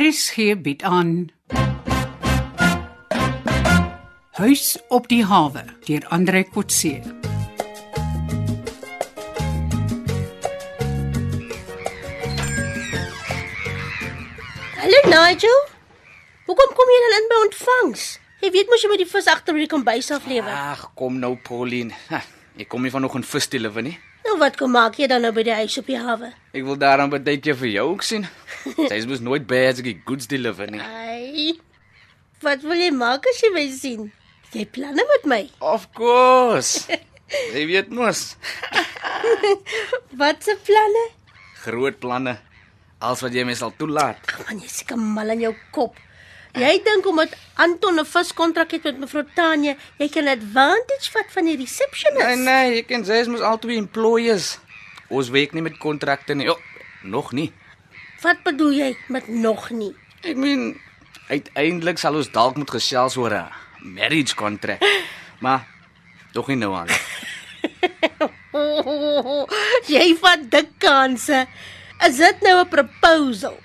RSG bied aan Huis op die hawe deur Andre Kotse. Hallo Nigel. Hoekom kom jy dan in by ontvangs? Jy weet mos jy moet die vis agter by die kombuis aflewer. Ag, kom nou Pauline. Ha, ek kom nie vanoggend vis te lewe nie. Nou wat kom maak jy dan nou by die huis op die hawe? Ek wil daarom baie keer vir jou ook sien. Sy is mos nooit by as ek die goods deliver nie. Ai. Wat wil jy maak as jy my sien? Het Jy planne met my. Of course. Jy weet mos, Wat se planne? groot planne. Als wat jy my sal toelaat. Ag man, jy's seker mal in jou kop. Jy dink omdat Anton 'n viskontrak het met mevrou Tanya, jy kan advantage vat van die receptionist. Nee nee, ek en sy is mos albei employees. Ons werk nie met kontrakte nie. Jo, nog nie. Wat bedoel jy met nog nie? Ek meen uiteindelik sal ons dalk moet gesels oor 'n marriage contract. Maar tog nie nou aan. Oh, oh, oh, jy vat dik kanse. Is dit nou 'n proposal?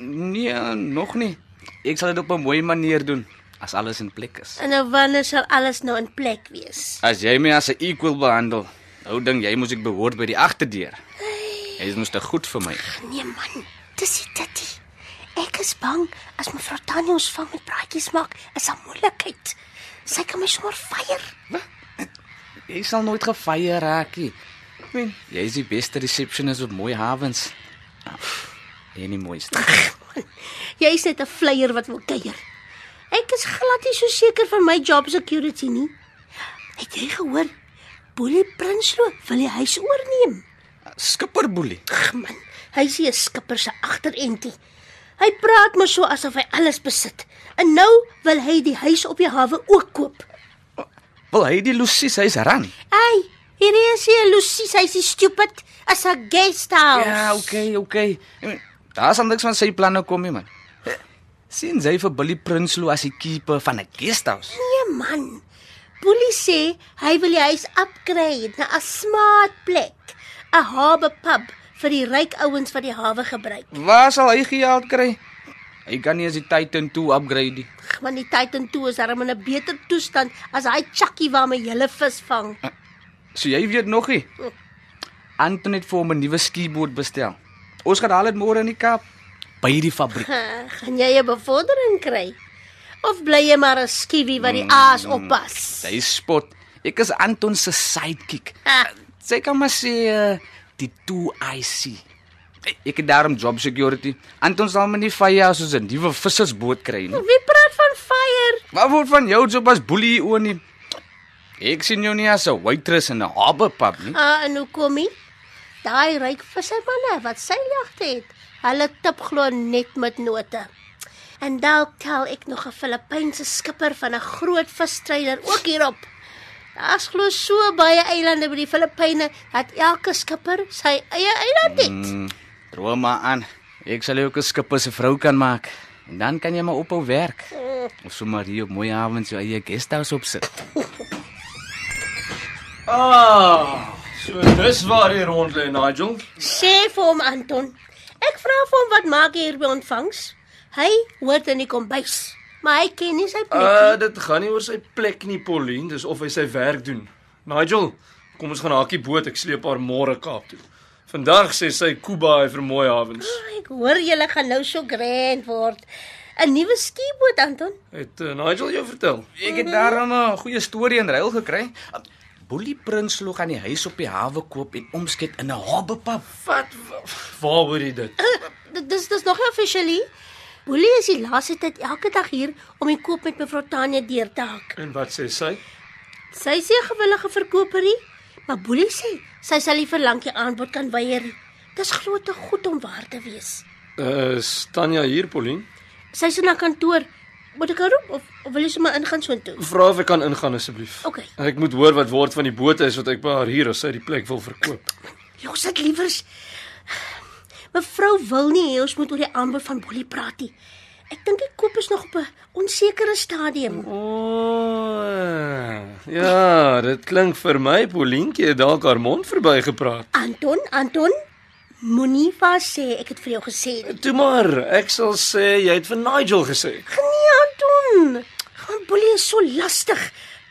Nee, nog nie. Ek sal dit op 'n mooi manier doen as alles in plek is. En nou wanneer sal alles nou in plek wees? As jy my as 'n equal behandel, nou dink jy moes ek behoort by die agterdeur. Jy is mos te goed vir my. Nee man, dis dit dit. Ek is bang as mevrou Tannie ons vang met praatjies maak, is 'n moeilikheid. Sy kan my sommer fyer. Jy sal nooit gefeier raak nie. Ek meen, jy is die beste resepsionis op Mooi Havens. Nou, Jy nie mooiste. Jy is net 'n vleier wat wil kuier. Ek is glad nie so seker van my job security nie. Het jy gehoor? Boelie Prinsloo wil die huis oorneem. Skipper Boelie. Ag man, hy sien 'n skipper se agterentie. Hy praat maar so asof hy alles besit. En nou wil hy die huis op die hawe ook koop. Wil hy die Lucy se huis ran? Ai, hierdie is hier Lucy, sy's die stupid as 'n guest house. Ja, okay, okay. Ek meen, Daar sal niks van sy planne kom nie, man. Sien sy vir Billy Prinsloo as die keeper van 'n guesthouse? Nee man. Boelie sê hy wil die huis upgrade na 'n smart plek, 'n hawe pub vir die ryk ouens wat die hawe gebruik. Waar sal hy geld kry? Hy kan nie as die Titan 2 upgrade nie. Ag, Maar die Titan 2 is darem in 'n beter toestand as hy chakkie waarmee jy vis vang. So jy weet nog nie. Anton het vir hom 'n nuwe skieboot bestel. Ons gaan haal dit môre in die Kaap by die fabriek. Ha, Gaan jy 'n bevordering kry? Of bly jy maar 'n skiewie wat die aas oppas? Sy spot. Ek is Anton se sidekick. Ah. Sy kan maar sê eh, die 2IC. Ek het daarom job security. Anton sal my nie vye as ons 'n nuwe vissersboot kry nie. Wie praat van fire? Wat word van jou job as boelie oor nie? Ek sien jou nie as 'n waitress in 'n haberpub nie. Ah, en hoe kom jy? Daai ryk vissermanne wat seilagte het, hulle tip glo net met note. En dalk tel ek nog 'n Filippynse skipper van 'n groot vistreiler ook hierop. Daar's glo so baie eilande by die Filippyne dat elke skipper sy eie eiland het. Mm. Mm, Droom maar aan. Ek sal jou ook 'n skipper se vrou kan maak. En dan kan jy maar ophou werk. Of sommer hier op mooi avonds jou eie guesthouse opsit. Ah, so dis waar jy rond lê, Nigel. Sê vir hom Anton, ek vra vir hom wat maak hy hier by ontvangs? Hy hoort in die kombuis, maar hy ken nie sy plek nie. Uh, dit gaan nie oor sy plek nie, Pauline, dis of hy sy werk doen. Nigel, kom ons gaan hakkie boot, ek sleep haar môre Kaap toe. Vandag sê sy Kuba hy vir mooi avonds. Ek hoor julle gaan nou so grand word. 'n Nuwe skieboot Anton. Het uh, Nigel jou vertel? Ek het daarom 'n goeie storie in ruil gekry. Boelie Prinsloo gaan die huis op die hawe koop en omskep in 'n habbepap. Wat waar hoor jy dit? D- Dis dis nog nie officially. Boelie is die laaste tyd elke dag hier om die koop met mevrou Tanya deur te hak. En wat sê sy? Sy sê gewillige verkoperie, maar Boelie sê sy sal nie vir lankie aanbod kan weier nie. Dis glo te goed om waar te wees. Uh, Tanya hier, Pauline. Sy's in haar kantoor. Moet ek haar roep of, of wil jy sommer ingaan soontoe? Vra of ek kan ingaan asseblief. OK. Ek moet hoor wat word van die bote is wat ek by haar huur as sy die plek wil verkoop. Los dit liewers. Mevrou wil nie hê ons moet oor die aanbod van Boelie praat nie. Ek dink die koop is nog op 'n onsekere stadium. Ooh, ja, dit klink vir my Polientjie het dalk haar mond verby gepraat. Anton, Anton, Moenie vir sê ek het vir jou gesê nie. Toe maar, ek sal sê jy het vir Nigel gesê. Nee, Anton. Gaan boelie is so lastig.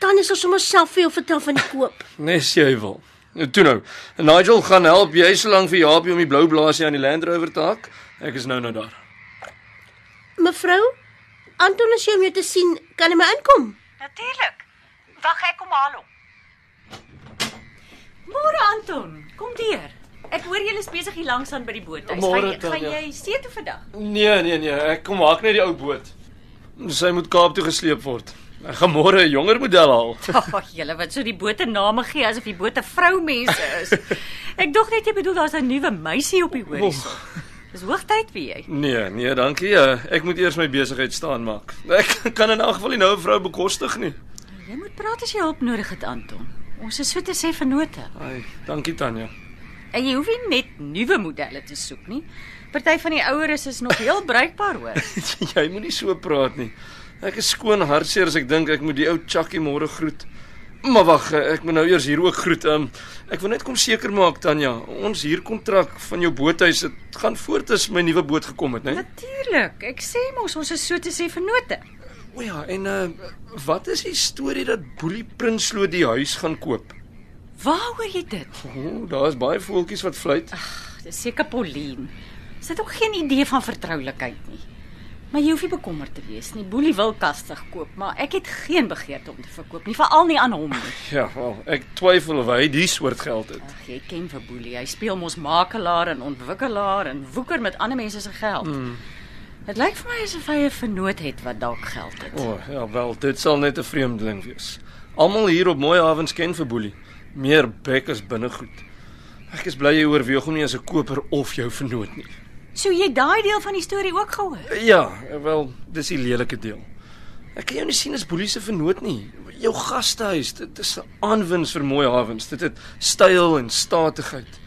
Dan is ons sommer self vir jou vertel van die koop. Nes jy wil. Nou, Toe nou. Nigel gaan help jy solank vir Japie om die blou blaasie aan die Land Rover te hak. Ek is nou nou daar. Mevrou, Anton is hier om jou te sien. Kan hy my inkom? Natuurlik. Wag, ek kom haal hom. Môre Anton, kom deur. Ek hoor julle is besig hier langs aan by die boothuis. Môre, Gaan- gaan Tanya. jy see toe vandag? Nee, nee, nee, ek kom maak net die ou boot. Sy moet Kaap toe gesleep word. Ek gaan môre 'n jonger model haal. Ag, Oh, julle wat so die bote name gee asof die bote vroumense is. ek dog net jy bedoel daar's 'n nuwe meisie op die horison. Dis hoogtyd vir jy. Nee, nee, dankie. eh, Ek moet eers my besigheid staan maak. Ek kan in elk geval nie nou 'n vrou bekostig nie. Jy moet praat as jy hulp nodig het, Anton. Ons is so te sê vennote. Ai, dankie Tanya. En jy hoef nie net nuwe modelle te soek nie. Party van die oueres is nog heel bruikbaar hoor. jy moenie so praat nie. Ek is skoon hartseer as ek dink ek moet die ou Chucky môre groet. Maar wag, ek moet nou eers hier ook groet. Um, ek wil net kom seker maak Tanya, ons huurkontrak van jou boothuis, dit gaan voort as my nuwe boot gekom het, né? Nee? Natuurlik. Ek sê mos ons is so te sê vennote. O ja, en uh, wat is die storie dat Boelie Prinsloo die huis gaan koop? Waaroor jy dit? O, oh, daar's baie voeltjies wat fluit. Dis seker Pauline. Sy het ook geen idee van vertroulikheid nie. Maar jy hoef nie bekommerd te wees nie. Boelie wil kastig koop, maar ek het geen begeerte om te verkoop nie, veral nie aan hom nie. Ja, wel, ek twyfel of hy die soort geld het. Ag, jy ken vir Boelie. Hy speel mos makelaar en ontwikkelaar en woeker met ander mense se geld. Dit lyk vir my asof hy 'n vennoot het wat dalk geld het. O, oh, ja, wel, dit sal net 'n vreemdeling wees. Almal hier op Mooi Havens ken vir Boelie. Meer bek as binnegoed. Ek is bly jy oorweeg om nie as 'n koper of jou vernoot nie. So jy daai deel van die storie ook gehoor? Ja, wel, dis die lelike deel. Ek kan jou nie sien as Boelie se vernoot nie. Jou gastehuis, dit is 'n aanwins vir Mooi Havens. Dit het styl en statigheid.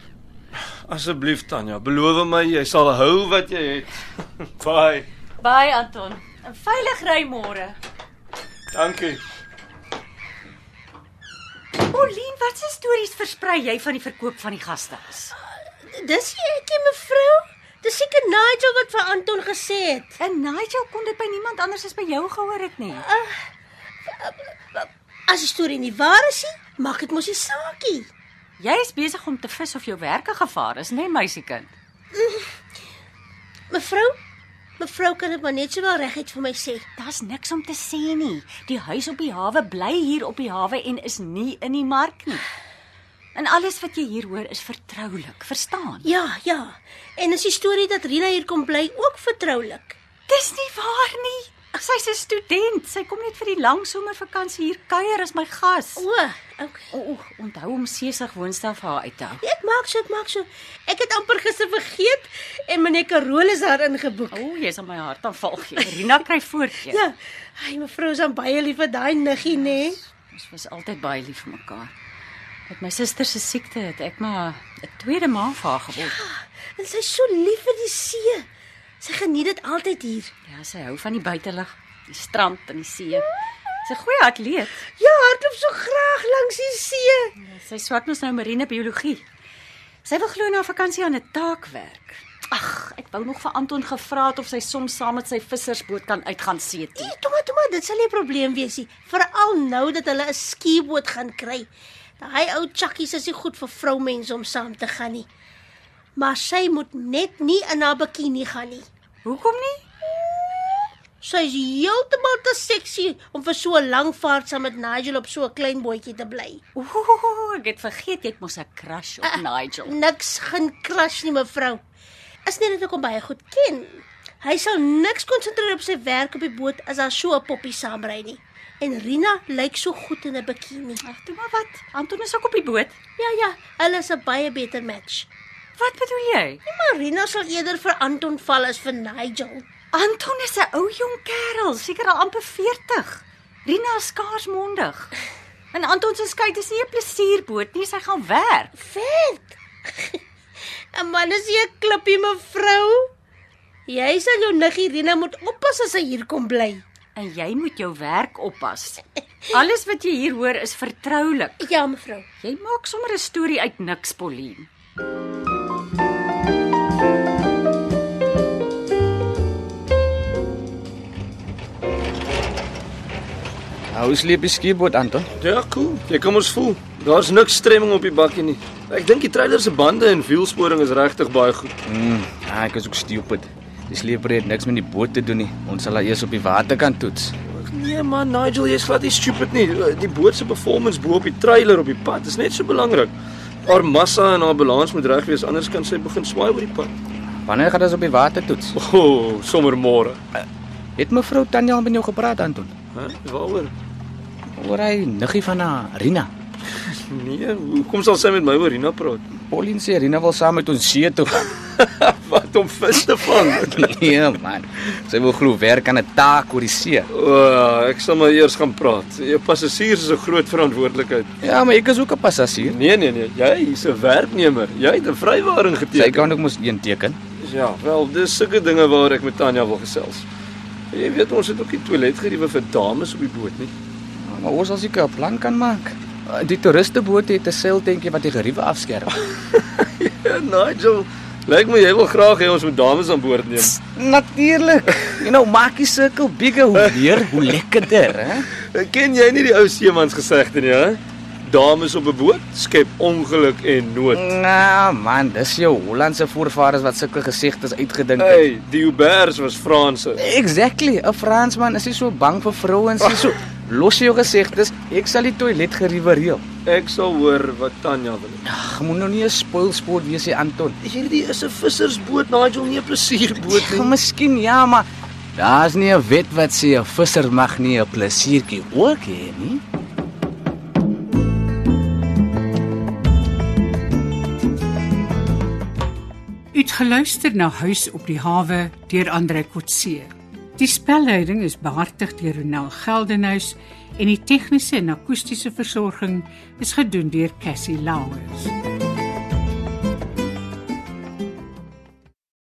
Asseblief Tanya, beloof my jy sal hou wat jy het. Bye. Bye Anton. 'n Veilig ry môre. Dankie. Olien, watse stories versprei jy van die verkoop van die gastehuis? Dis jy ek, hè, mevrou. Dis seker Nigel wat vir Anton gesê het. En Nigel kon dit by niemand anders as by jou gehoor het nie. As die storie nie waar is nie, maak dit mos nie saakie. Jy is besig om te vis of jou werke gevaar is, né, nee, meisiekind? Mevrou, mevrou kan dit maar net sowel reguit vir my sê. Daar's niks om te sê nie. Die huis op die hawe bly hier op die hawe en is nie in die mark nie. En alles wat jy hier hoor is vertroulik, verstaan? Ja, ja. En is die storie dat Rina hier kom bly ook vertroulik? Dis nie waar nie. Sy's 'n student. Sy kom net vir die lang somervakansie hier kuier as my gas. O, okay. O, o, onthou om seesig woonstel vir haar uit te hou. Ek maak so, ek maak so. Ek het amper gister vergeet en meneer Karol is daarin geboek. O, jy sal my hart aanval gee. Rina kry voorkeur. Ja. Ai, mevrou is aan baie lief vir daai niggie, nê? Nee. Ons was altyd baie lief vir mekaar. Met my suster se siekte het ek maar 'n tweede ma vir haar geword. En sy's so lief vir die see. Sy geniet dit altyd hier. Ja, sy hou van die buitelug, die strand en die see. Sy's 'n goeie atleet. Ja, hardloop so graag langs die see. Sy swat mos nou marine biologie. Sy wil glo na vakansie aan 'n taak werk. Ag, ek wou nog vir Anton gevra het of sy soms saam met sy vissersboot kan uitgaan see toe. Nee, toe maar, toe maar, dit sal nie 'n probleem wees nie, veral nou dat hulle 'n skieboot gaan kry. Daai ou chakkies is nie goed vir vroumense om saam te gaan nie. Maar sy moet net nie in haar bikini gaan nie. Hoekom nie? Sy is heeltemal te seksie om vir so 'n lang vaart saam met Nigel op so 'n klein bootjie te bly. Ooh, ek het vergeet jy het mos 'n crush op Nigel. Niks gaan crash nie, mevrou. Is net dat ek hom baie goed ken. Hy sal niks konsentreer op sy werk op die boot as daar so 'n poppie saamry nie. En Rina lyk so goed in 'n bikini. Ag, toe maar wat. Anton is ook op die boot. Ja ja, hulle is 'n baie beter match. Wat bedoel jy? Nee, maar Rina sal eerder vir Anton val as vir Nigel. Anton is 'n ou jong kerel, seker al amper 40. Rina is skaarsmondig. En Anton se skei is nie 'n plesierboot nie, sy gaan werk. Vet. 'n Man is nie 'n klippie mevrou. Jy sal jou niggie Rina moet oppas as sy hier kom bly. En jy moet jou werk oppas. Alles wat jy hier hoor is vertroulik. Ja mevrou. Jy maak sommer 'n storie uit niks, Pauline. Hou sleep die skieboot aan toe. Ja, cool. Jy kan ons voel. Daar's niks stremming op die bakkie nie. Ek dink die trailer se bande en wielsporing is regtig baie goed. Mm, ah, ek is ook stupid. Die sleeper het niks met die boot te doen nie. Ons sal haar eers op die waterkant toets. Nee man, Nigel, jy's glad nie stupid nie. Die boot se performance bo op die trailer op die pad is net so belangrik. Haar massa en haar balans moet reg wees, anders kan sy begin swaai oor die pad. Wanneer gaan ons op die water toets? O, oh, sommer môre. Het mevrou Tanya al met jou gepraat, Anton? Hæ? Waaroor? Oor hy niggie van haar, Rina. Nee, hoekom sal sy met my oor Rina praat? Pauline sê Rina nou wil saam met ons see toe gaan. Wat om vis te vang? nee man. Sy wil glo werk aan 'n taak oor die see. O, ja, ek sal maar eers gaan praat. Jou passasiers is 'n groot verantwoordelikheid. Ja, maar ek is ook 'n passasier. Nee, nee, nee, jy is 'n werknemer. Jy het 'n vrywaring geteken. Sy kan ook mos een teken. Ja, wel, dis sulke dinge waar ek met Tanya wil gesels. Jy weet ons het ook nie toiletgeriewe vir dames op die boot nie. Maar ons sal seker 'n plan kan maak. Eh, Die toeristeboot het 'n seiltentjie wat die geriewe afskerm. Ja, Nigel, lyk my jy wil graag hê ons moet dames aan boord neem. Natuurlik. You know, nou maak die sirkel bigger hoe meer, hoe lekkerder, hè? Eh, Ken jy nie die ou seemans gesegde nie, hè? Dames op 'n boot skep ongeluk en nood. Nou man, dis jou Hollandse voorvaders wat sulke gesegdes uitgedink het. Hey, die Huberts was Franse. Exactly. 'n Fransman is nie so bang vir vrouens nie. So los jou gesegdes, ek sal die toilet geriewe reël. Ek sal hoor wat Tanya wil. hê. Ag, moet nou nie 'n spoilsport wees nie, Anton. Hierdie is 'n vissersboot, Nigel, nie 'n plesierboot Ja, miskien ja, maar daar's nie 'n wet wat sê 'n visser mag nie 'n plesiertjie ook hê nie. U het geluister na Huis op die hawe deur Andre Kotse. Die spelleiding is behartig deur Ronel Geldenhuys en die tegniese en akoestiese versorging is gedoen deur Cassie Lauers.